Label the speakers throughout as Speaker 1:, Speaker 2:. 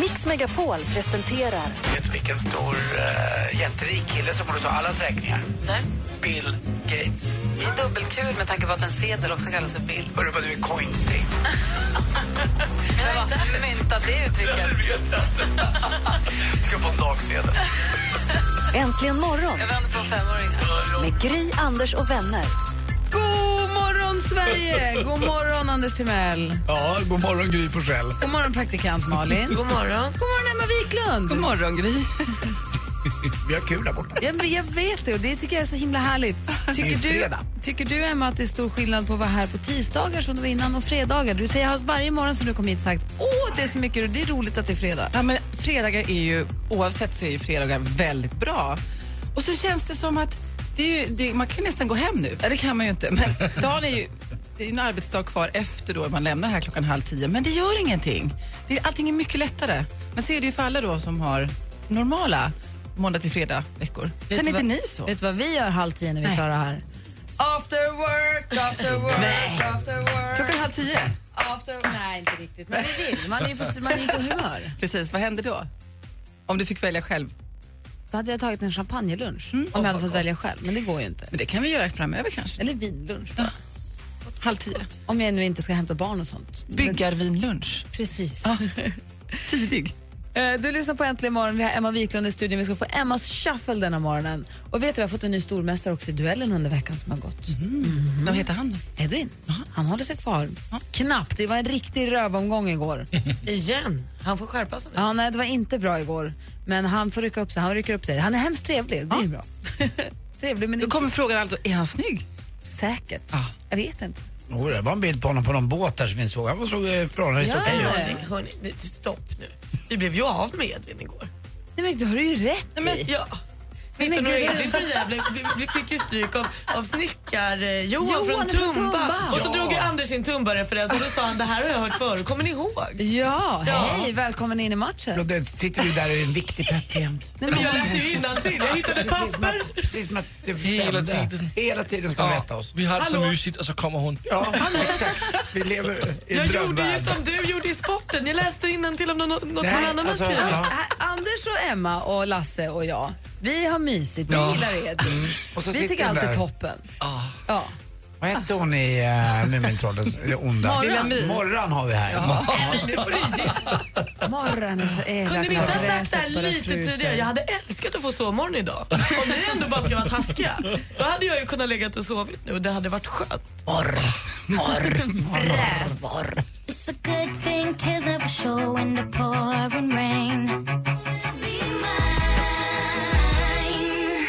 Speaker 1: Mix Megapol presenterar
Speaker 2: Vet du vilken stor eh, jätterik kille som borde ta alla räkningar?
Speaker 3: Nej.
Speaker 2: Bill Gates.
Speaker 3: Det är dubbeltur med tanke på att en sedel också kallas för bild.
Speaker 2: Hörru vad du är coinsting.
Speaker 3: Jag har inte myntat det uttrycket.
Speaker 2: Ska få en dagsedel.
Speaker 1: Äntligen morgon
Speaker 3: Jag vänder på en femåring.
Speaker 1: med Gry, Anders och vänner.
Speaker 3: God morgon, Sverige! God morgon, Anders Timell.
Speaker 2: Ja, god morgon Gry Forssell.
Speaker 3: God morgon, praktikant Malin. God morgon. God morgon, Emma Wiklund. God morgon, Gry.
Speaker 2: Vi har kul där borta.
Speaker 3: Jag, jag vet det och det tycker jag är så himla härligt.
Speaker 2: Det
Speaker 3: Tycker
Speaker 2: är
Speaker 3: du,
Speaker 2: fredag.
Speaker 3: tycker du Emma att det är stor skillnad på att vara här på tisdagar som du var innan och fredagar? Du säger alltså, varje morgon som du kom hit sagt åh det är så mycket och det är roligt att det är fredag.
Speaker 4: Ja, men fredagar är ju, oavsett så är ju fredagar väldigt bra. Och så känns det som att det är ju, det, man kan nästan gå hem nu. Ja, det kan man ju inte, men dagen är ju, det är ju en arbetsdag kvar efter då man lämnar här klockan halv tio. Men det gör ingenting. Det, är- allting är mycket lättare. Men så är det ju för alla då som har normala måndag till fredag veckor. Känner inte
Speaker 3: vad-
Speaker 4: ni så?
Speaker 3: Vet du vad vi gör halv tio när vi är
Speaker 4: Nej.
Speaker 3: klara här? After work, after work, after work.
Speaker 4: Klockan halv tio?
Speaker 3: After... Nej, inte riktigt. Men vi vill. Man är ju på, man är ju på humör.
Speaker 4: Precis, vad händer då? Om du fick välja själv.
Speaker 3: Då hade jag tagit en champagnelunch om jag hade fått välja själv. Men det går ju inte.
Speaker 4: Men det kan vi göra framöver kanske.
Speaker 3: Eller vinlunch bara.
Speaker 4: Halv tio.
Speaker 3: Om jag nu inte ska hämta barn och sånt.
Speaker 4: Byggarvinlunch.
Speaker 3: Precis.
Speaker 4: Tidig.
Speaker 3: Eh, Du lyssnar på Äntligen morgon. Vi har Emma Wiklund i studion. Vi ska få Emmas shuffle denna morgonen. Och vet du, vi har fått en ny stormästare också i duellen under veckan som har gått. Mm.
Speaker 4: Vad heter han?
Speaker 3: Edvin, han håller sig kvar. Knappt. Det var en riktig rövomgång igår.
Speaker 5: Igen? Han får skärpa sig nu.
Speaker 3: Ja, nej, det var inte bra igår. Men han får rycka upp sig. Han rycker upp sig. Han är hemskt trevlig. Det är ju bra. trevlig men
Speaker 4: Då
Speaker 3: inte
Speaker 4: kommer frågan alltså, är han snygg?
Speaker 3: säkert.
Speaker 2: Ah.
Speaker 4: Ja.
Speaker 3: Jag vet inte.
Speaker 2: Oh, det var en bild på honom på någon båt där som vi inte såg. Han var så eh, förhållandevis
Speaker 3: Ja.
Speaker 2: okej ut.
Speaker 5: Hörni, hörni, det- stopp nu. Vi blev ju av med Edvin igår.
Speaker 3: Nej, men du har ju rätt i.
Speaker 5: Ja.
Speaker 3: Nej, men
Speaker 5: 1994 blev, vi, vi fick ju stryk av, av
Speaker 3: Johan
Speaker 5: snickar-Johan
Speaker 3: från
Speaker 5: från Tumba.
Speaker 3: Tumba.
Speaker 5: Och så drog ju Anders sin Tumba-referens och då sa han det här har jag hört förut, kommer ni ihåg?
Speaker 3: Ja,
Speaker 5: Ja.
Speaker 3: hej, välkommen in i
Speaker 2: Och
Speaker 3: matchen.
Speaker 2: då sitter du där och är en viktig pepp jämt.
Speaker 3: Nej,
Speaker 5: Men
Speaker 3: men,
Speaker 5: jag läste ju innantill, jag hittade papper.
Speaker 2: Precis som att det
Speaker 6: Hela
Speaker 2: stämde.
Speaker 6: tiden.
Speaker 2: Hela tiden ska man rätta oss.
Speaker 6: Vi har det så
Speaker 5: Hallå?
Speaker 6: mysigt och så kommer hon.
Speaker 2: Ja, exakt. Vi lever i en
Speaker 5: Jag gjorde ju
Speaker 2: drömvärld.
Speaker 5: som du gjorde i sporten, jag läste innantill om någon, något någon
Speaker 2: Nej,
Speaker 5: annan
Speaker 2: alltså,
Speaker 5: har skrivit.
Speaker 2: ja.
Speaker 3: här, Äh, Anders och Emma och Lasse och jag, vi har mysigt. Vi
Speaker 2: Ja. Mm.
Speaker 3: gillar Edvin.
Speaker 2: Och så
Speaker 3: Vi
Speaker 2: sitter
Speaker 3: tycker
Speaker 2: den
Speaker 3: allt är
Speaker 2: där. Ah.
Speaker 3: toppen. Ja.
Speaker 2: Vad hette hon i uh, Mumintrollens eh, onda?
Speaker 3: Morran. Lilla My.
Speaker 2: Morran har vi här.
Speaker 5: Nej, nu får du ge.
Speaker 3: Morgonen är så elak.
Speaker 5: Kunde ni inte ha sagt det här
Speaker 3: Gräset bara
Speaker 5: lite
Speaker 3: frusen.
Speaker 5: tidigare? Jag hade älskat att få sovmorgon idag. Om ni ändå bara ska vara taskiga. Då hade jag ju kunnat lägga och sovit nu och det hade varit skönt.
Speaker 2: Morr, morr, morr, morr.
Speaker 7: It's a good thing tears never show when the pouring rain. Be mine.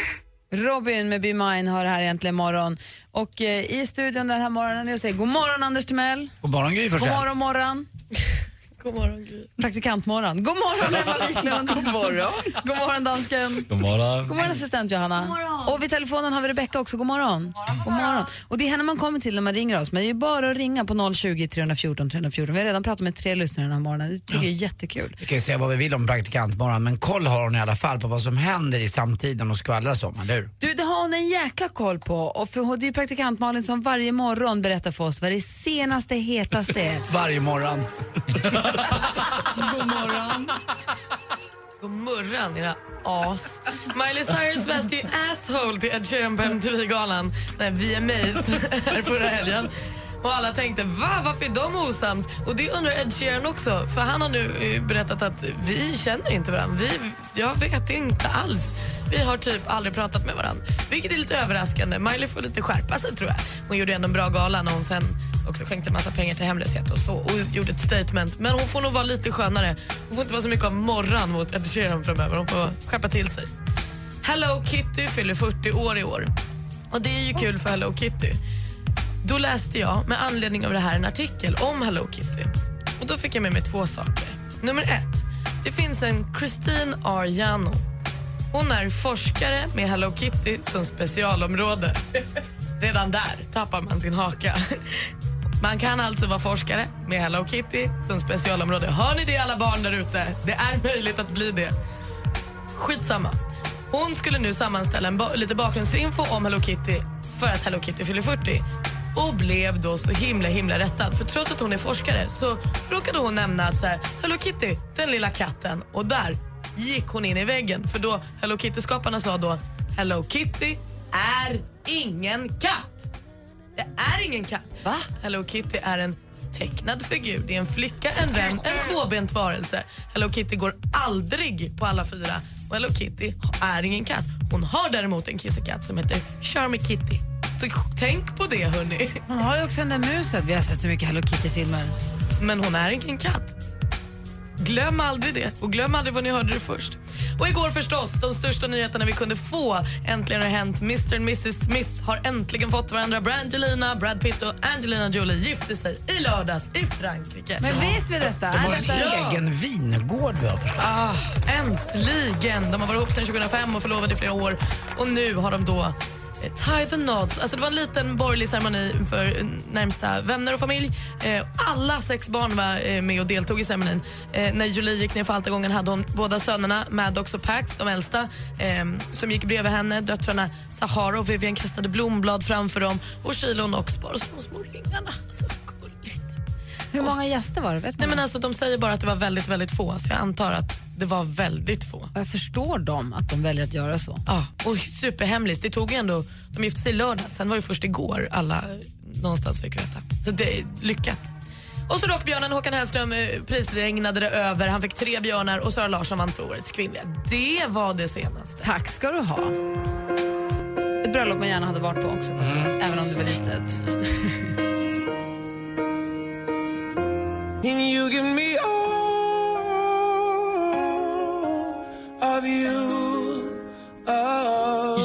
Speaker 3: Robin med Be Mine har det här egentligen morgon. Och eh, i studion den här morgonen, jag säger god morgon Anders Timell.
Speaker 2: God morgon Gry
Speaker 3: God
Speaker 2: Forssell.
Speaker 3: morgon morgon.
Speaker 5: God morgon Gry.
Speaker 3: Praktikantmorgon. God morgon Emma Wiklund. god morgon. God morgon dansken.
Speaker 6: God
Speaker 3: God
Speaker 6: morgon.
Speaker 3: morgon assistent Johanna. God morgon. Och vid telefonen har vi Rebecka också. God morgon. God morgon. Och det är henne man kommer till när man ringer oss. Men det är ju bara att ringa på 020 314 314. Vi har redan pratat med tre lyssnare den här morgonen. Det tycker jag är jättekul.
Speaker 2: Vi kan ju säga vad vi vill om praktikantmorgon men koll har hon i alla fall på vad som händer i samtiden och skvallras om, eller hur?
Speaker 3: Du, det har hon en jäkla koll på. Och för hon- det är ju praktikant Malin som varje morgon berättar för oss vad det senaste, hetaste är.
Speaker 2: Varje morgon.
Speaker 5: God morgon era as. Miley Cyrus väste ju asshole till Ed Sheeran på MTV-galan. Nej, VMAs här förra helgen. Och alla tänkte, va? Varför är de osams? Och det undrar Ed Sheeran också, för han har nu eh, berättat att vi känner inte varandra. Vi, jag vet inte alls. Vi har typ aldrig pratat med varandra. Vilket är lite överraskande. Miley får lite skärpa sig tror jag. Hon gjorde ändå en bra gala när hon sen också skänkte massa pengar till hemlöshet och så och gjorde ett statement. Men hon får nog vara lite skönare. Hon får inte vara så mycket av morran mot Ed Sheeran framöver. Hon får skärpa till sig. Hello Kitty fyller 40 år i år. Och det är ju kul för Hello Kitty. Då läste jag med anledning av det här en artikel om Hello Kitty. Och då fick jag med mig två saker. Nummer ett, det finns en Christine Arjano Hon är forskare med Hello Kitty som specialområde. Redan där tappar man sin haka. Man kan alltså vara forskare med Hello Kitty som specialområde. Hör ni det alla barn där ute? Det är möjligt att bli det. Skitsamma. Hon skulle nu sammanställa en ba- lite bakgrundsinfo om Hello Kitty för att Hello Kitty fyller 40 och blev då så himla himla rättad. För trots att hon är forskare så råkade hon nämna att så här, Hello Kitty, den lilla katten och där gick hon in i väggen för då Hello Kitty-skaparna sa då Hello Kitty är ingen katt. Det är ingen katt. Va? Hello Kitty är en tecknad figur. Det är en flicka, en vän, en tvåbent varelse. Hello Kitty går aldrig på alla fyra. Och Hello Kitty är ingen katt. Hon har däremot en kissekatt som heter Charmy Kitty. Så tänk på det hörni.
Speaker 3: Hon har ju också den där muset. Vi har sett så mycket Hello Kitty-filmer.
Speaker 5: Men hon är ingen katt. Glöm aldrig det och glöm aldrig vad ni hörde det först. Och igår förstås, de största nyheterna vi kunde få. Äntligen har det hänt. Mr och Mrs Smith har äntligen fått varandra. Brangelina, Brad Pitt och Angelina Jolie gifte sig i lördags i Frankrike.
Speaker 3: Men vet vi detta?
Speaker 2: De
Speaker 3: Är
Speaker 2: har
Speaker 3: detta...
Speaker 2: en egen vingård vad jag förstår.
Speaker 5: Ah, äntligen! De har varit ihop sedan 2005 och förlovade i flera år. Och nu har de då eh, Tie the knots. Alltså det var en liten borgerlig ceremoni för eh, närmsta vänner och familj. Eh, alla sex barn var eh, med och deltog i ceremonin. Eh, när Julie gick ner för altargången hade hon båda sönerna, Maddox och Pax, de äldsta, eh, som gick bredvid henne. Döttrarna Sahara och Vivian kastade blomblad framför dem och kilon och spar och små, små ringarna. Så gulligt.
Speaker 3: Hur många gäster var det? Vet man?
Speaker 5: Nej, men alltså, de säger bara att det var väldigt, väldigt få, så jag antar att det var väldigt få.
Speaker 3: Jag förstår dem att de väljer att göra så.
Speaker 5: Ja, och superhemligt. Det tog ju ändå, de gifte sig i lördags, sen var det först igår alla eh, någonstans fick veta. Så det är lyckat. Och så rockbjörnen Håkan Hellström eh, prisregnade det över. Han fick tre björnar och Sara Larsson vann för årets kvinnliga. Det var det senaste.
Speaker 3: Tack ska du ha. Ett bröllop man gärna hade varit på också, faktiskt,
Speaker 5: Mm.
Speaker 3: även om det var litet.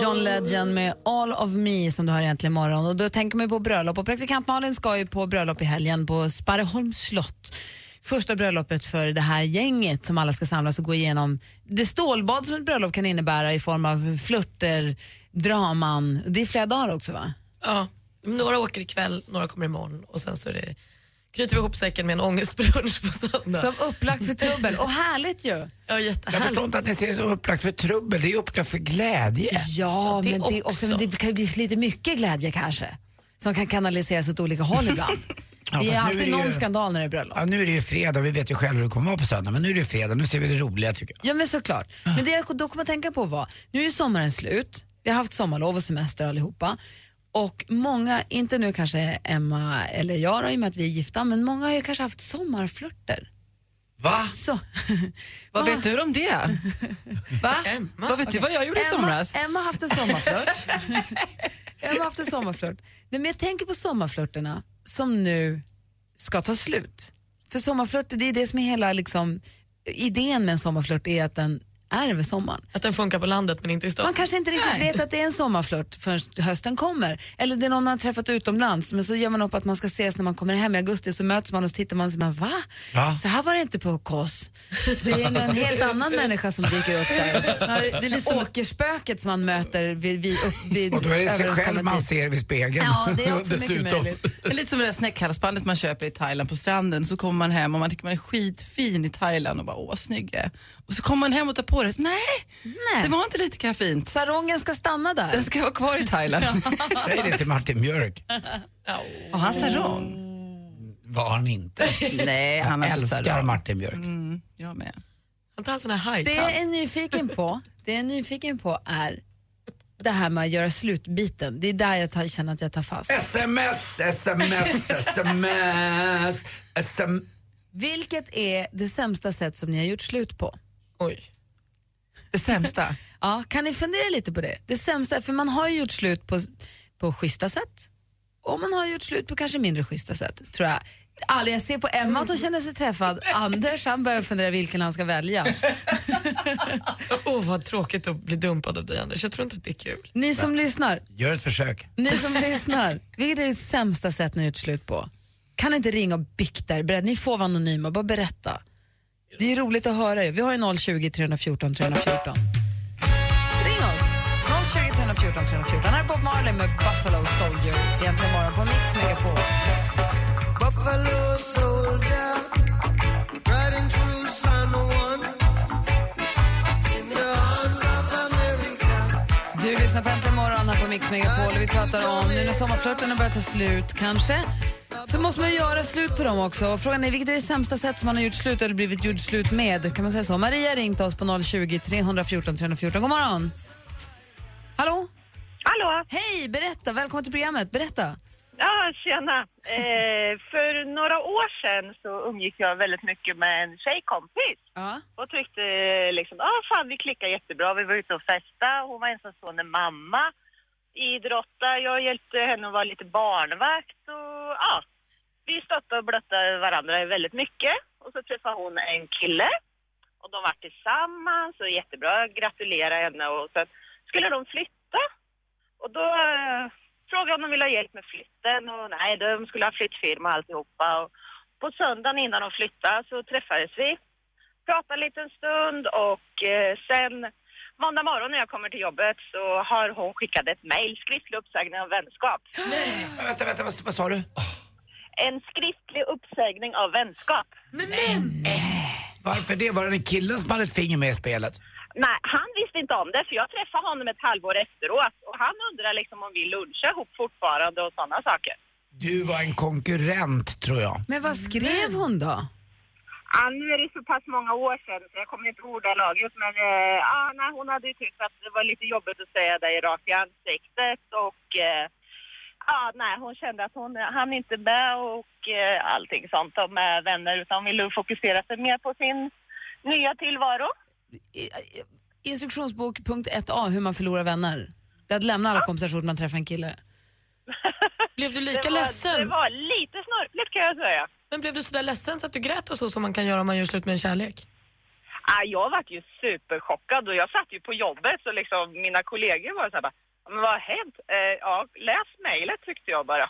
Speaker 3: John Legend med All of me som du har egentligen imorgon. Och då tänker man ju på bröllop och praktikant Malin ska ju på bröllop i helgen på Sparreholms slott. Första bröllopet för det här gänget som alla ska samlas och gå igenom det stålbad som ett bröllop kan innebära i form av flörter, draman. Det är flera dagar också va?
Speaker 5: Ja. Några åker ikväll, några kommer imorgon och sen så är det, knyter vi ihop säcken med en ångestbrunch på söndag.
Speaker 3: Som upplagt för trubbel. Och härligt ju!
Speaker 5: Ja,
Speaker 2: Jag
Speaker 5: jättehärligt.
Speaker 2: förstår inte att ni ser det som upplagt för trubbel, det är upplagt för glädje.
Speaker 3: Ja,
Speaker 5: det
Speaker 3: men, det, är också,
Speaker 5: också.
Speaker 3: men det kan ju bli lite mycket glädje kanske. Som kan kanaliseras åt olika håll ibland.
Speaker 2: fast
Speaker 3: det
Speaker 2: nu
Speaker 3: är
Speaker 2: är
Speaker 3: alltid
Speaker 2: det ju-
Speaker 3: någon skandal när det är bröllop.
Speaker 2: Ja, nu är det ju fredag, vi vet ju själva hur det kommer vara på söndag, men nu är det ju fredag, nu ser vi det roliga tycker jag.
Speaker 3: Ja men såklart. Men det jag då kommer att tänka på var, nu är ju sommaren slut, vi har haft sommarlov och semester allihopa. Och många, inte nu kanske Emma eller jag då, i och med att vi är gifta, men många har ju kanske haft sommarflörter.
Speaker 2: Va?
Speaker 3: Så.
Speaker 4: Vad vet du om det? Va? Vad vet du vad jag gjorde i
Speaker 3: Emma,
Speaker 4: somras?
Speaker 3: Emma har haft en sommarflört. Emma har haft en sommarflört. Nej, men jag tänker på sommarflörterna som nu ska ta slut. För sommarflörter, det är det som är hela liksom, idén med en sommarflört, är att den är över sommaren.
Speaker 5: Att den funkar på landet men inte i
Speaker 3: Man
Speaker 5: stan.
Speaker 3: kanske inte riktigt vet att det är en sommarflört förrän hösten kommer. Eller det är någon man har träffat utomlands men så gör man upp att man ska ses när man kommer hem i augusti så möts man och så tittar man och så bara, va?
Speaker 2: Va?
Speaker 3: Så här var det inte på Kos. Det är en, en helt annan människa som dyker upp där. Ja, Det är lite som åkerspöket som man möter vid, vid, upp, vid
Speaker 2: Och då är det sig själv
Speaker 3: överenskommen
Speaker 2: man
Speaker 3: tid.
Speaker 2: ser vid spegeln.
Speaker 3: typ. Ja, det är också mycket
Speaker 2: Dessutom.
Speaker 3: möjligt.
Speaker 4: Det är lite som det där snäckhalsbandet man köper i Thailand på stranden. Så kommer man hem och man tycker man är skitfin i Thailand och bara åh vad snygg jag är. Och så kommer man hem och tar på det. Så, Nej,
Speaker 3: Nej.
Speaker 4: det var inte lika fint.
Speaker 3: Sarongen ska stanna
Speaker 4: Den
Speaker 3: där.
Speaker 4: ska vara kvar i Thailand.
Speaker 2: Säg det till Martin Björk.
Speaker 4: Har han sarong?
Speaker 2: Var han inte.
Speaker 4: Nej, han
Speaker 2: Jag
Speaker 4: har inte
Speaker 2: älskar
Speaker 4: sarong.
Speaker 2: Martin Björk.
Speaker 4: Mm, jag med.
Speaker 5: Han tar en sån här high
Speaker 3: Det jag är nyfiken på, det jag är nyfiken på är det här med att göra slutbiten. Det är där jag tar, känner att jag tar fast.
Speaker 2: Sms, sms, sms, sms.
Speaker 3: Vilket är det sämsta sätt som ni har gjort slut på?
Speaker 5: Oj.
Speaker 4: Det sämsta.
Speaker 3: Ja, kan ni fundera lite på det? Det sämsta, för man har ju gjort slut på, på schyssta sätt och man har gjort slut på kanske mindre schyssta sätt, tror jag. Alla, jag ser på Emma att hon känner sig träffad. Anders han börjar fundera vilken han ska välja.
Speaker 5: Åh, vad tråkigt att bli dumpad av dig Anders. Jag tror inte att det är kul.
Speaker 3: Ni som lyssnar,
Speaker 2: Gör ett försök.
Speaker 3: ni som lyssnar, vilket är det sämsta sätt ni har gjort slut på? Kan inte ringa och bikta er, Berätta- ni får vara anonyma, bara berätta. Det är roligt att höra ju. Vi har ju 020 314 314. 314 314. Här är Bob Marley med Buffalo Soldier. Egentligen morgon på Mix Megapol. Du lyssnar på Äntligen morgon här på Mix Megapol. Vi pratar om nu när sommarflörten börjar ta slut, kanske. Så måste man göra slut på dem också. Frågan är vilket är det sämsta sätt som man har gjort slut eller blivit gjort slut med? Kan man säga så? Maria har ringt oss på 020-314 314. God morgon! Hallå?
Speaker 5: Hallå!
Speaker 3: Hej, berätta! Välkommen till programmet. Berätta.
Speaker 5: Ja, tjena! Eh, för några år sedan så umgick jag väldigt mycket med en tjejkompis
Speaker 3: Ja.
Speaker 5: och tyckte eh, liksom, ah, fan vi klickar jättebra, vi var ute och festa, hon var ensamstående mamma, idrotta, jag hjälpte henne att vara lite barnvakt och ja, vi stöttade och blötte varandra väldigt mycket och så träffade hon en kille och de var tillsammans och jättebra, jag gratulerade henne och sen skulle de flytta och då eh, frågade jag om de ville ha hjälp med flytten och nej, de skulle ha flyttfirma och alltihopa. Och på söndagen innan de flyttade så träffades vi, pratade en liten stund och eh, sen måndag morgon när jag kommer till jobbet så har hon skickat ett mejl, skriftlig uppsägning av vänskap.
Speaker 2: Äh, Vänta, vänta, vad, vad sa du?
Speaker 5: En skriftlig uppsägning av vänskap.
Speaker 2: Varför det? Var det en killen som hade ett finger med i spelet?
Speaker 5: Nej, han visste inte om det för jag träffade honom ett halvår efteråt och han undrar liksom om vi lunchar ihop fortfarande och sådana saker.
Speaker 2: Du var en konkurrent, tror jag.
Speaker 3: Men vad skrev hon då?
Speaker 5: Ja, nu är det så pass många år sedan så jag kommer inte ihåg ordalaget men eh, ja, nej, hon hade ju tyckt att det var lite jobbigt att säga det rakt i ansiktet och eh, ja, nej, hon kände att hon hann inte med och eh, allting sånt och med vänner utan hon ville fokusera sig mer på sin nya tillvaro.
Speaker 3: I- i- Instruktionsbok punkt 1a, hur man förlorar vänner. Det är att lämna alla kompisar så fort man träffar en kille.
Speaker 8: Blev du lika
Speaker 5: det, var, det
Speaker 8: ledsen?
Speaker 5: var lite snorkligt kan jag säga.
Speaker 8: Men blev du sådär ledsen så att du grät och så som man kan göra om man gör slut med en kärlek?
Speaker 5: Ah, jag var ju superchockad och jag satt ju på jobbet så liksom mina kollegor var så här bara, men vad har hänt? Eh, ja, läs mejlet tyckte jag bara.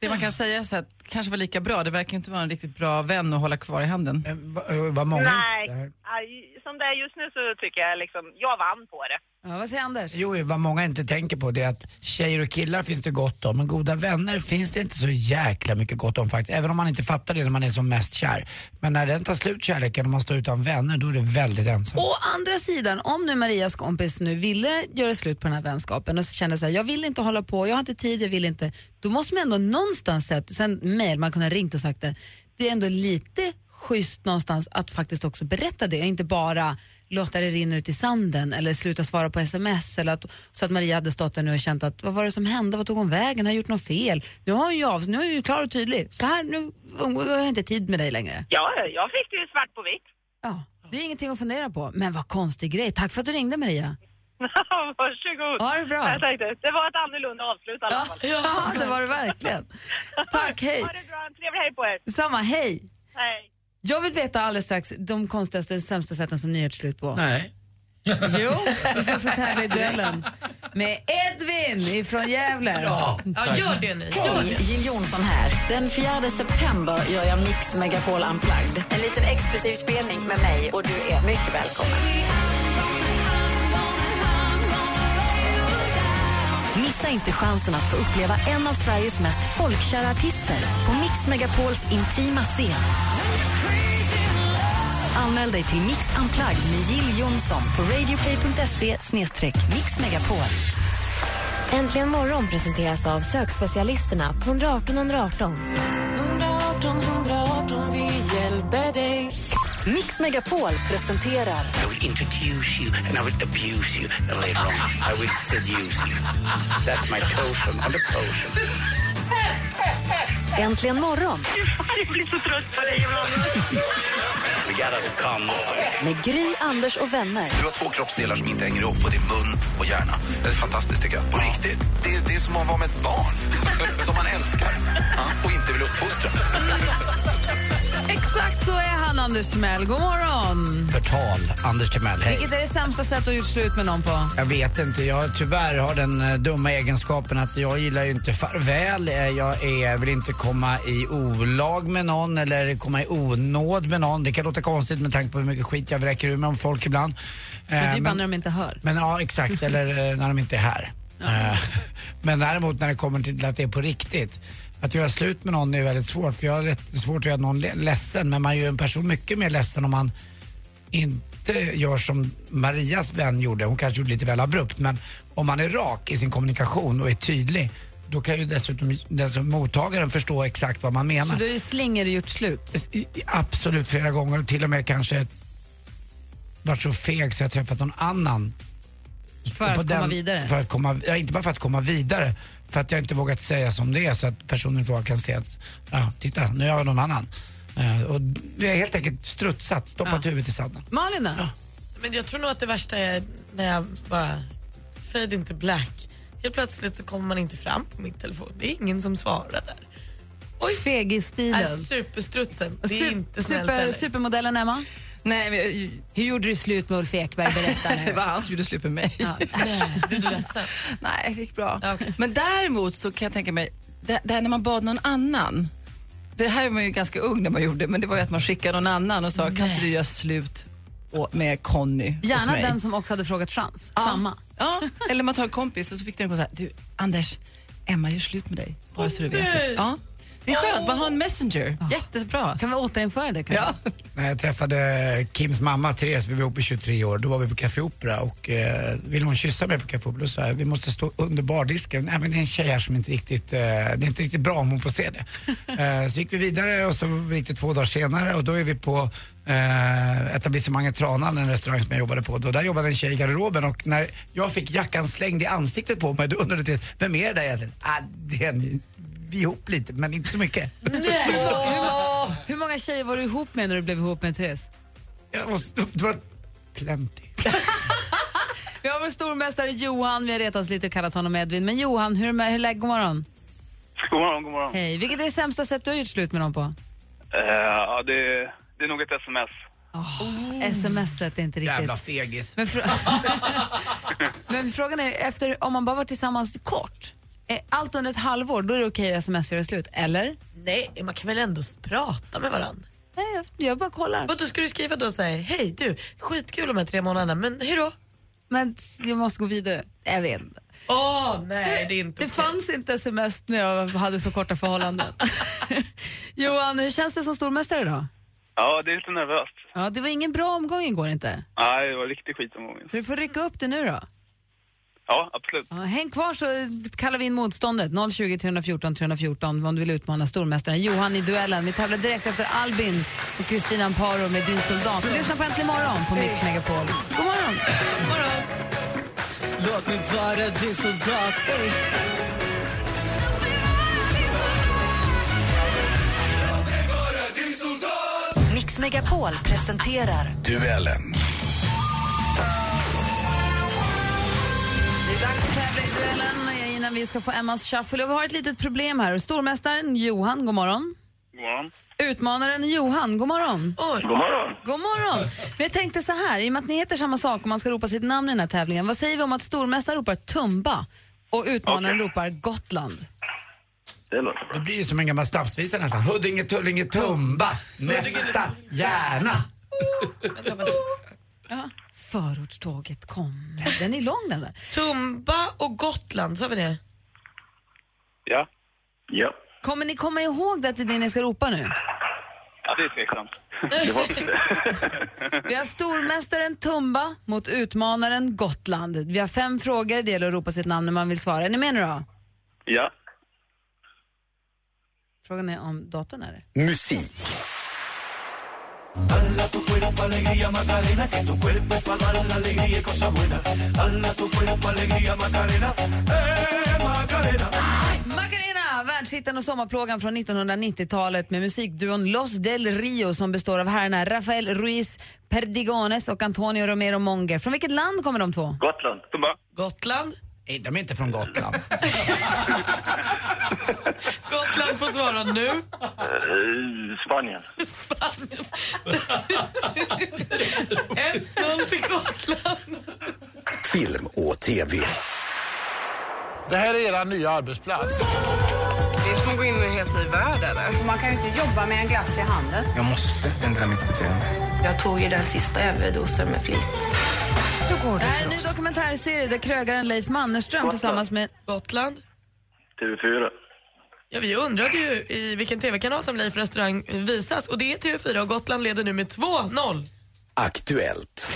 Speaker 9: Det man kan säga så att kanske var lika bra. Det verkar ju inte vara en riktigt bra vän att hålla kvar i handen.
Speaker 2: Eh, va- eh, Vad många... det här-
Speaker 5: Nej, aj, som det är just nu så tycker jag liksom, jag vann på det.
Speaker 3: Ja, vad säger Anders?
Speaker 2: Jo, jo, vad många inte tänker på det är att tjejer och killar finns det gott om, men goda vänner finns det inte så jäkla mycket gott om faktiskt. Även om man inte fattar det när man är som mest kär. Men när den tar slut kärleken och man står utan vänner, då är det väldigt ensamt.
Speaker 3: Å andra sidan, om nu Marias kompis nu ville göra slut på den här vänskapen och så kände så här, jag vill inte hålla på, jag har inte tid, jag vill inte. Då måste man ändå någonstans sett, sen mejl, man kunde ha ringt och sagt det. Det är ändå lite schysst någonstans att faktiskt också berätta det och inte bara låta det rinna ut i sanden eller sluta svara på sms eller att, så att Maria hade stått där nu och känt att vad var det som hände, vad tog hon vägen, har jag gjort något fel? Nu har hon ju av, nu är hon ju klar och tydlig. Så här, nu umgås- jag har inte tid med dig längre.
Speaker 5: Ja, ja, jag fick det ju svart på vitt.
Speaker 3: Ja, det är ingenting att fundera på. Men vad konstig grej. Tack för att du ringde Maria.
Speaker 5: Varsågod.
Speaker 3: Ha det bra.
Speaker 5: Jag tänkte, det var ett annorlunda avslut i alla fall.
Speaker 3: Ja, det var det verkligen. Tack, hej.
Speaker 5: Ha det bra, en trevlig helg på er.
Speaker 3: Samma, hej.
Speaker 5: Hej.
Speaker 3: Jag vill veta alldeles strax de konstigaste, sämsta sätten som ni gjort slut på.
Speaker 2: Nej.
Speaker 3: Jo, vi ska också tävla i duellen med Edvin ifrån Gävle.
Speaker 8: Ja, gör det ni.
Speaker 1: Jill Johnson här. Den 4 september gör jag Mix Megapol Unplugged. En liten exklusiv spelning med mig och du är mycket välkommen. Missa inte chansen att få uppleva en av Sveriges mest folkkära artister på Mix Megapols intima scen. Anmäl dig till Mix Unplugged med Jill Johnson på radioplay.se mixmegapol.
Speaker 10: Äntligen morgon presenteras av sökspecialisterna på 118 118.
Speaker 1: Mix Megapol presenterar
Speaker 2: I will introduce you and I will abuse you and later on I will seduce you. That's my potion on the potion.
Speaker 1: Äntligen morgon
Speaker 5: Jag blir så trött på dig ibland.
Speaker 2: We got us come on.
Speaker 1: med Gry, Anders och vänner.
Speaker 11: Du har två kroppsdelar som inte hänger ihop och det är mun och hjärna. Det är fantastiskt tycker jag. På riktigt. Det är, det är som att vara med ett barn som man älskar ja, och inte vill uppfostra.
Speaker 3: Exakt så är han, Anders Timell. God morgon.
Speaker 2: Förtal, Anders Timell. Hej.
Speaker 3: Vilket är det sämsta sättet att gjort slut med någon på?
Speaker 2: Jag vet inte. Jag tyvärr har den eh, dumma egenskapen att jag gillar ju inte farväl. Eh, Jag är, vill inte komma i olag med någon eller komma i onåd med någon. Det kan låta konstigt med tanke på hur mycket skit jag vräker ur mig om folk ibland. Eh,
Speaker 3: Det är ju bara
Speaker 2: men,
Speaker 3: när typ de inte hör.
Speaker 2: men ja, exakt. Eller eh, när de inte är här. Eh, Men däremot när det kommer till att det är på riktigt. Att göra slut med någon är väldigt svårt för jag har rätt svårt att göra någon le- ledsen men man gör en person mycket mer ledsen om man inte gör som Marias vän gjorde, hon kanske gjorde lite väl abrupt, men om man är rak i sin kommunikation och är tydlig, då kan ju dessutom den som mottagaren förstå exakt vad man
Speaker 3: Så
Speaker 2: menar.
Speaker 3: du har ju slinger gjort slut?
Speaker 2: I- i- Absolut flera gånger och till och med kanske varit så feg så jag träffat någon annan.
Speaker 3: För
Speaker 2: Och
Speaker 3: att
Speaker 2: på
Speaker 3: komma vidare?
Speaker 2: För att komma, ja, inte bara för att komma vidare, för att jag inte vågat säga som det är så att personen i fråga kan se att ja, titta, nu är jag någon annan. Eh, och jag har helt enkelt strutsat, stoppat huvudet i sanden.
Speaker 3: Malin då?
Speaker 5: Men jag tror nog att det värsta är när jag bara fade into black. Helt plötsligt så kommer man inte fram på min telefon. Det är ingen som svarar där.
Speaker 3: Oj. Fegis-stilen.
Speaker 5: Är superstrutsen. Det är
Speaker 3: Sup-
Speaker 5: inte snällt
Speaker 3: super,
Speaker 5: heller.
Speaker 3: supermodellen Emma?
Speaker 4: Nej,
Speaker 3: Hur gjorde du slut med Ulf Ekberg? Berätta nu.
Speaker 4: Det var han som gjorde slut med mig.
Speaker 5: Blev du ledsen?
Speaker 4: Nej, det gick bra. Men däremot så kan jag tänka mig, det, det här när man bad någon annan. Det här var man ju ganska ung när man gjorde, men det var ju att man skickade någon annan och sa, kan inte du göra slut å- med Conny åt
Speaker 3: Gärna
Speaker 4: mig?
Speaker 3: den som också hade frågat chans. Samma.
Speaker 4: Ja, eller man tar en kompis och så fick den gå så här, du Anders, Emma gör slut med dig, bara så du vet. det." Ja. Det är skönt, bara ha en messenger. Jättebra.
Speaker 3: Kan vi återinföra det? kanske?
Speaker 2: När jag träffade Kims mamma Therese, vi var ihop i 23 år, då var vi på Café Opera och eh, ville hon kyssa mig på Café Opera så sa jag, vi måste stå under bardisken. Nej men det är en tjej här som inte riktigt, eh, det är inte riktigt bra om hon får se det. eh, så gick vi vidare och så gick det två dagar senare och då är vi på eh, etablissemanget Tranan, en restaurang som jag jobbade på. Då, där jobbade en tjej i garderoben och när jag fick jackan slängd i ansiktet på mig då undrade jag vem är det där egentligen? Ah, det är en, vi är ihop lite men inte så mycket.
Speaker 3: Hur många tjejer var du ihop med när du blev ihop med Therese?
Speaker 2: Jag måste, det var plenty.
Speaker 3: Vi har vår stormästare Johan, vi har retats lite och kallat honom Edvin. Men Johan, hur är det med- hur är läget? God morgon.
Speaker 12: God morgon, god morgon.
Speaker 3: Hej. Vilket är det sämsta sätt du har gjort slut med någon på?
Speaker 12: Eh, ja, det, det är nog ett sms.
Speaker 3: Smset är inte riktigt...
Speaker 12: Jävla
Speaker 2: fegis.
Speaker 3: Men, frå- Men frågan är, efter, om man bara varit tillsammans kort, är allt under ett halvår, då är det okej att sms göra slut, eller?
Speaker 5: Nej, man kan väl ändå s- prata med varandra?
Speaker 3: Nej, jag, jag bara kollar.
Speaker 5: Och då ska du skriva då så här, hej du, skitkul de här tre månaderna, men hejdå.
Speaker 3: Men jag måste gå vidare. Jag vet inte.
Speaker 5: Åh nej, det är inte
Speaker 3: Det fanns inte sms när jag hade så korta förhållanden. Johan, hur känns det som stormästare idag?
Speaker 12: Ja, det är lite nervöst.
Speaker 3: Ja, det var ingen bra omgång igår inte.
Speaker 12: Nej, det var riktigt skit om gången.
Speaker 3: Så du får rycka upp det nu då.
Speaker 12: Ja, absolut.
Speaker 3: Ja, häng kvar så kallar vi in motståndet. 020 314 314 om du vill utmana stormästaren Johan i duellen. Vi tävlar direkt efter Albin och Kristina Amparo med Din soldat. Du lyssnar på Äntligen morgon på Mix Megapol. God morgon!
Speaker 13: Låt mig vara din soldat, ey.
Speaker 14: Mix Megapol presenterar
Speaker 11: Duellen.
Speaker 3: Det är dags att tävla i duellen innan vi ska få Emmas shuffle. Och vi har ett litet problem här. Stormästaren Johan, god morgon.
Speaker 12: God morgon.
Speaker 3: Utmanaren Johan, god morgon.
Speaker 12: God morgon.
Speaker 3: God morgon. Men jag tänkte så här, i och med att ni heter samma sak och man ska ropa sitt namn i den här tävlingen, vad säger vi om att stormästaren ropar Tumba och utmanaren ropar Gotland?
Speaker 12: Det låter
Speaker 2: Då blir det som en gammal stabsvisa nästan. Huddinge, Tullinge, Tumba. Nästa, gärna.
Speaker 3: Förortståget kommer. Den är lång den där.
Speaker 5: Tumba och Gotland, sa vi det?
Speaker 12: Ja. Ja.
Speaker 3: Kommer ni komma ihåg det att det är det ni ska ropa nu?
Speaker 12: Ja, det är tveksamt. Det var
Speaker 3: Vi har stormästaren Tumba mot utmanaren Gotland. Vi har fem frågor, det gäller att ropa sitt namn när man vill svara. Är ni med nu då?
Speaker 12: Ja.
Speaker 3: Frågan är om datorn är det.
Speaker 11: Musik.
Speaker 3: Macarena, världshitten och sommarplågan från 1990-talet med musikduon Los del Rio som består av herrarna Rafael Ruiz Perdigones och Antonio Romero Monge. Från vilket land kommer de två?
Speaker 12: Gotland. Tumba.
Speaker 5: Gotland?
Speaker 2: Nej, de är inte från Gotland.
Speaker 5: Gotland får svara nu.
Speaker 12: Spanien.
Speaker 5: Spanien. 1-0 till Gotland.
Speaker 11: Film och TV.
Speaker 15: Det här är era nya arbetsplats.
Speaker 16: Det är som att gå in i en helt ny värld. Eller? Man kan ju inte jobba med en glass i handen.
Speaker 15: Jag måste ändra mitt beteende.
Speaker 16: Jag tog ju den sista överdosen med flit.
Speaker 3: Det här är en ny dokumentärserie där krögaren Leif Mannerström tillsammans med...
Speaker 5: Gotland.
Speaker 12: TV4.
Speaker 5: Ja, vi undrade ju i vilken tv-kanal som Leif restaurang visas och det är TV4 och Gotland leder nu med 2-0.
Speaker 17: Aktuellt.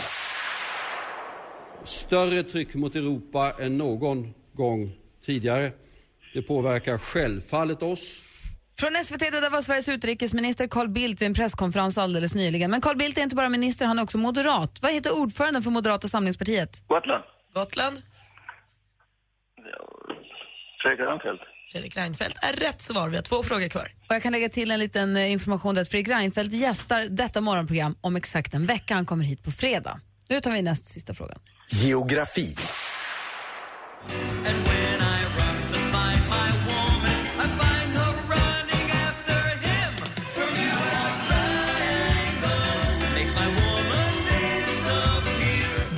Speaker 17: Större tryck mot Europa än någon gång tidigare. Det påverkar självfallet oss.
Speaker 3: Från SVT, det där var Sveriges utrikesminister Carl Bildt vid en presskonferens alldeles nyligen. Men Carl Bildt är inte bara minister, han är också moderat. Vad heter ordföranden för Moderata samlingspartiet?
Speaker 12: Gotland.
Speaker 5: Gotland.
Speaker 12: Fredrik Reinfeldt.
Speaker 5: Fredrik Reinfeldt är rätt svar. Vi har två frågor kvar.
Speaker 3: Och jag kan lägga till en liten eh, information där att Fredrik Reinfeldt gästar detta morgonprogram om exakt en vecka. Han kommer hit på fredag. Nu tar vi näst sista frågan.
Speaker 17: Geografi.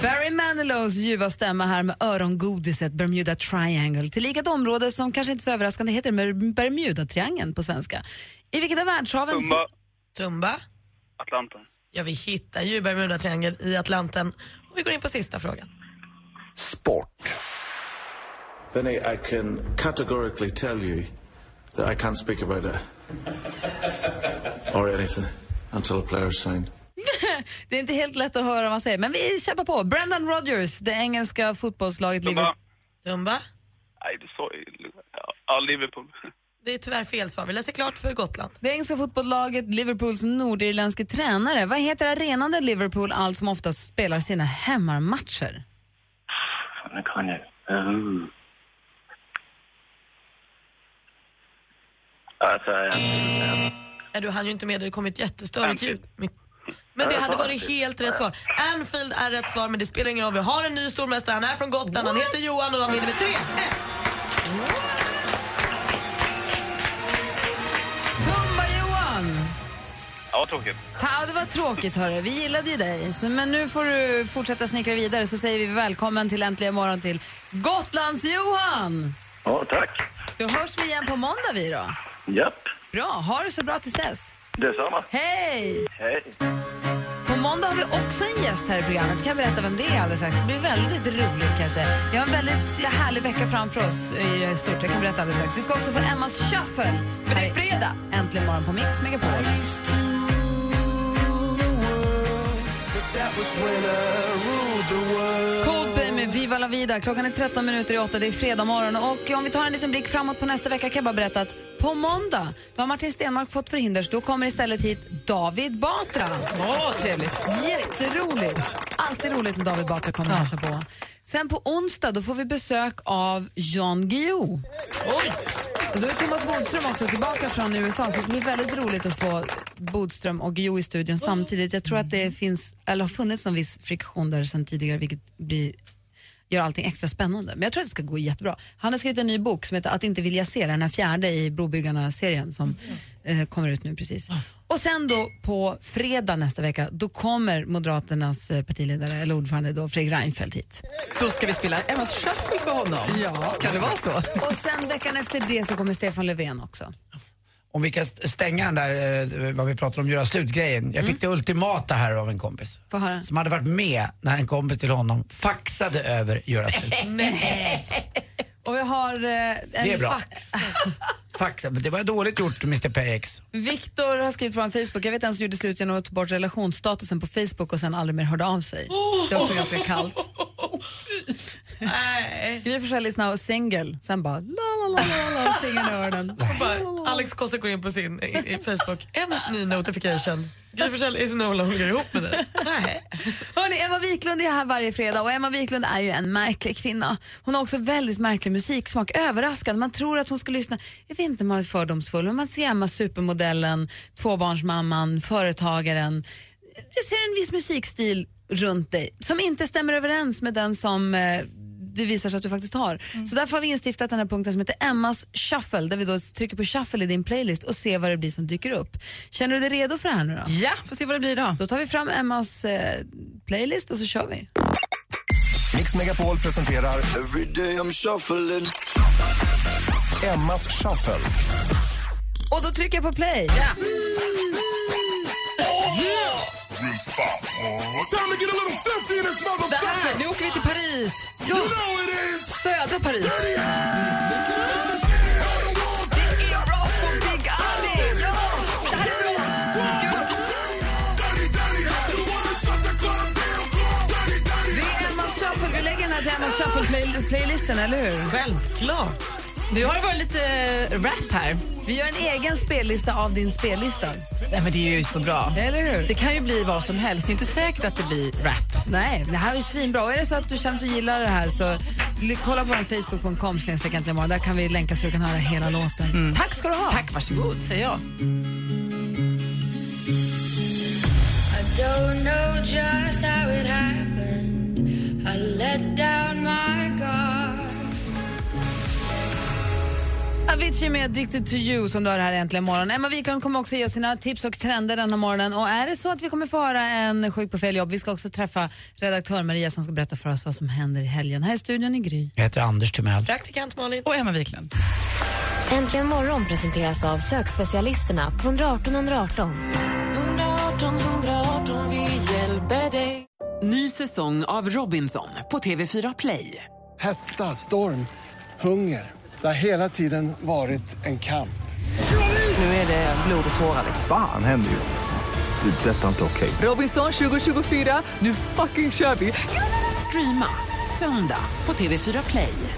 Speaker 3: Barry Manilows ljuva stämma här med örongodiset Bermuda Triangle. Tillika ett område som kanske inte så överraskande heter Mer- Bermuda-triangeln på svenska. I vilket av världshaven...
Speaker 12: Tumba.
Speaker 5: Tumba.
Speaker 12: Atlanten.
Speaker 5: Ja, vi hittar ju Bermudatriangeln i Atlanten. Och vi går in på sista frågan.
Speaker 18: Then I, I can categorically tell you that I can't speak about it or anything until a player's signed.
Speaker 3: det är inte helt lätt att höra vad man säger, men vi kämpar på. Brendan Rodgers, det engelska fotbollslaget
Speaker 5: Tumba.
Speaker 3: Liverpool.
Speaker 5: Tumba.
Speaker 12: Nej, du sa ju... Ja, Liverpool.
Speaker 5: Det är tyvärr fel svar. Vi läser klart för Gotland.
Speaker 3: Det engelska fotbollslaget Liverpools nordirländske tränare. Vad heter arenan där Liverpool allt som oftast spelar sina hemmamatcher?
Speaker 12: Nu kan jag. Uh. Alltså, jag...
Speaker 5: Nej, du hann ju inte med det. Det kom ett jättestörigt ljud. Mitt- Men det hade varit helt rätt svar. Anfield är rätt svar, men det spelar ingen roll. Vi har en ny stormästare. Han är från Gotland.
Speaker 12: Mm.
Speaker 5: Han heter Johan och han vinner med 3
Speaker 3: Tumba-Johan!
Speaker 12: Ja, tråkigt.
Speaker 3: Ja, det var tråkigt hörru. Vi gillade ju dig. Så, men nu får du fortsätta snickra vidare så säger vi välkommen till Äntligen morgon till Gotlands-Johan!
Speaker 12: Ja, tack.
Speaker 3: Då hörs vi igen på måndag vi då.
Speaker 12: Japp,
Speaker 3: Bra, ha det så bra tills dess.
Speaker 12: detsamma.
Speaker 3: Hej!
Speaker 12: Hej.
Speaker 3: På måndag har vi också en gäst här i programmet. Kan jag berätta vem det är alldeles strax. Det blir väldigt roligt kan jag säga. Vi har en väldigt härlig vecka framför oss i stort. Jag kan berätta alldeles strax. Vi ska också få Emmas shuffle. För det är fredag. Äntligen morgon på Mix Megapol. Coldplay med Viva La Vida. Klockan är 13 minuter i 8, det är fredag morgon. Och om vi tar en liten blick framåt på nästa vecka kan jag bara berätta att på måndag, då har Martin Stenmark fått förhinder så då kommer istället hit David Batra. Åh, trevligt. Jätteroligt. Alltid roligt när David Batra kommer och hälsar på. Sen på onsdag, då får vi besök av Jan Guillou. Och då är Thomas Bodström också tillbaka från USA så det ska bli väldigt roligt att få Bodström och Guillou i studion samtidigt. Jag tror att det finns, eller har funnits någon viss friktion där sedan tidigare vilket blir, gör allting extra spännande. Men jag tror att det ska gå jättebra. Han har skrivit en ny bok som heter Att inte vilja se, den här fjärde i Brobyggarna-serien som eh, kommer ut nu precis. Och sen då på fredag nästa vecka, då kommer Moderaternas eh, partiledare, eller ordförande då, Fredrik Reinfeldt hit.
Speaker 19: Då ska vi spela Emmas shuffle för honom.
Speaker 3: Ja.
Speaker 19: Kan det vara så?
Speaker 3: Och sen veckan efter det så kommer Stefan Löfven också.
Speaker 2: Om vi kan st- stänga den där, eh, vad vi pratar om, göra slut-grejen. Jag fick det ultimata här av en kompis.
Speaker 3: Mm. Få höra.
Speaker 2: Som hade varit med när en kompis till honom faxade över göra slut.
Speaker 3: Och jag har eh,
Speaker 2: Det är
Speaker 3: en
Speaker 2: bra.
Speaker 3: fax.
Speaker 2: Faxa, men det var dåligt gjort Mr PX.
Speaker 3: Viktor har skrivit på vår Facebook, jag vet inte ens hur gjorde slut genom att ta bort relationsstatusen på Facebook och sen aldrig mer hörde av sig. Det var också ganska kallt. Gry Forssell is now single, sen bara la la la la la, fingern i öronen.
Speaker 5: Och bara, Alex Kosek går in på sin i, i Facebook. En ny notification. Gry Forssell is no longer ihop med dig.
Speaker 3: Hörrni, Emma Wiklund är här varje fredag och Emma Wiklund är ju en märklig kvinna. Hon har också väldigt märklig musiksmak, överraskande. Man tror att hon ska lyssna, jag vet inte om man är fördomsfull, men man ser Emma supermodellen, tvåbarnsmamman, företagaren. Jag ser en viss musikstil runt dig som inte stämmer överens med den som eh, det visar sig att du faktiskt har. Så därför har vi instiftat den här punkten som heter Emmas shuffle där vi då trycker på shuffle i din playlist och ser vad det blir som dyker upp. Känner du dig redo för det här nu då?
Speaker 4: Ja, får se vad det blir då.
Speaker 3: Då tar vi fram Emmas eh, playlist och så kör vi.
Speaker 20: Mix Megapol presenterar Every day I'm shuffling. Emmas shuffle.
Speaker 3: Och då trycker jag på play.
Speaker 21: spot. Time to get a little filthy in this
Speaker 19: Det här, nu åker vi till Paris.
Speaker 21: You know it is.
Speaker 19: Södra Paris.
Speaker 3: Det är Emmas shuffle. Vi lägger den här till Emmas shuffle-playlisten, eller hur?
Speaker 5: Självklart.
Speaker 3: Du har varit lite
Speaker 19: eh,
Speaker 3: rap här. Vi gör en egen spellista av din spellista.
Speaker 19: Nej, men det är ju så bra.
Speaker 3: Eller hur?
Speaker 19: Det kan ju bli vad som helst. Det är inte säkert att det blir rap.
Speaker 3: Nej, det här är svinbra. Och är det så att du känner att du gillar det här så l- kolla på vår facebook.com snedstreck äntligen imorgon. Där kan vi länka så du kan höra hela låten. Tack ska du ha.
Speaker 19: Mm. Tack, varsågod, säger jag.
Speaker 21: I don't know just how it happened. I let down my guard.
Speaker 3: Avicii med Addicted to you som du har här äntligen imorgon. Emma Wiklund kommer också ge oss sina tips och trender den här morgonen. Och är det så att vi kommer få höra en sjuk på fel jobb, vi ska också träffa redaktör Maria som ska berätta för oss vad som händer i helgen. Här i studion i Gry.
Speaker 2: Jag heter Anders Timell.
Speaker 5: Praktikant Malin.
Speaker 19: Och Emma Wiklund.
Speaker 14: Äntligen morgon presenteras av sökspecialisterna på 118 118.
Speaker 21: 118, 118, vi hjälper dig.
Speaker 13: Ny säsong av Robinson på TV4 Play.
Speaker 22: Hetta, storm, hunger. Det har hela tiden varit en kamp.
Speaker 13: Nu är det blod och tårar. liksom.
Speaker 23: Fan händer just det. Det är detta inte okej.
Speaker 13: Robinson 2024, nu fucking kör vi! Streama söndag på TV4 Play.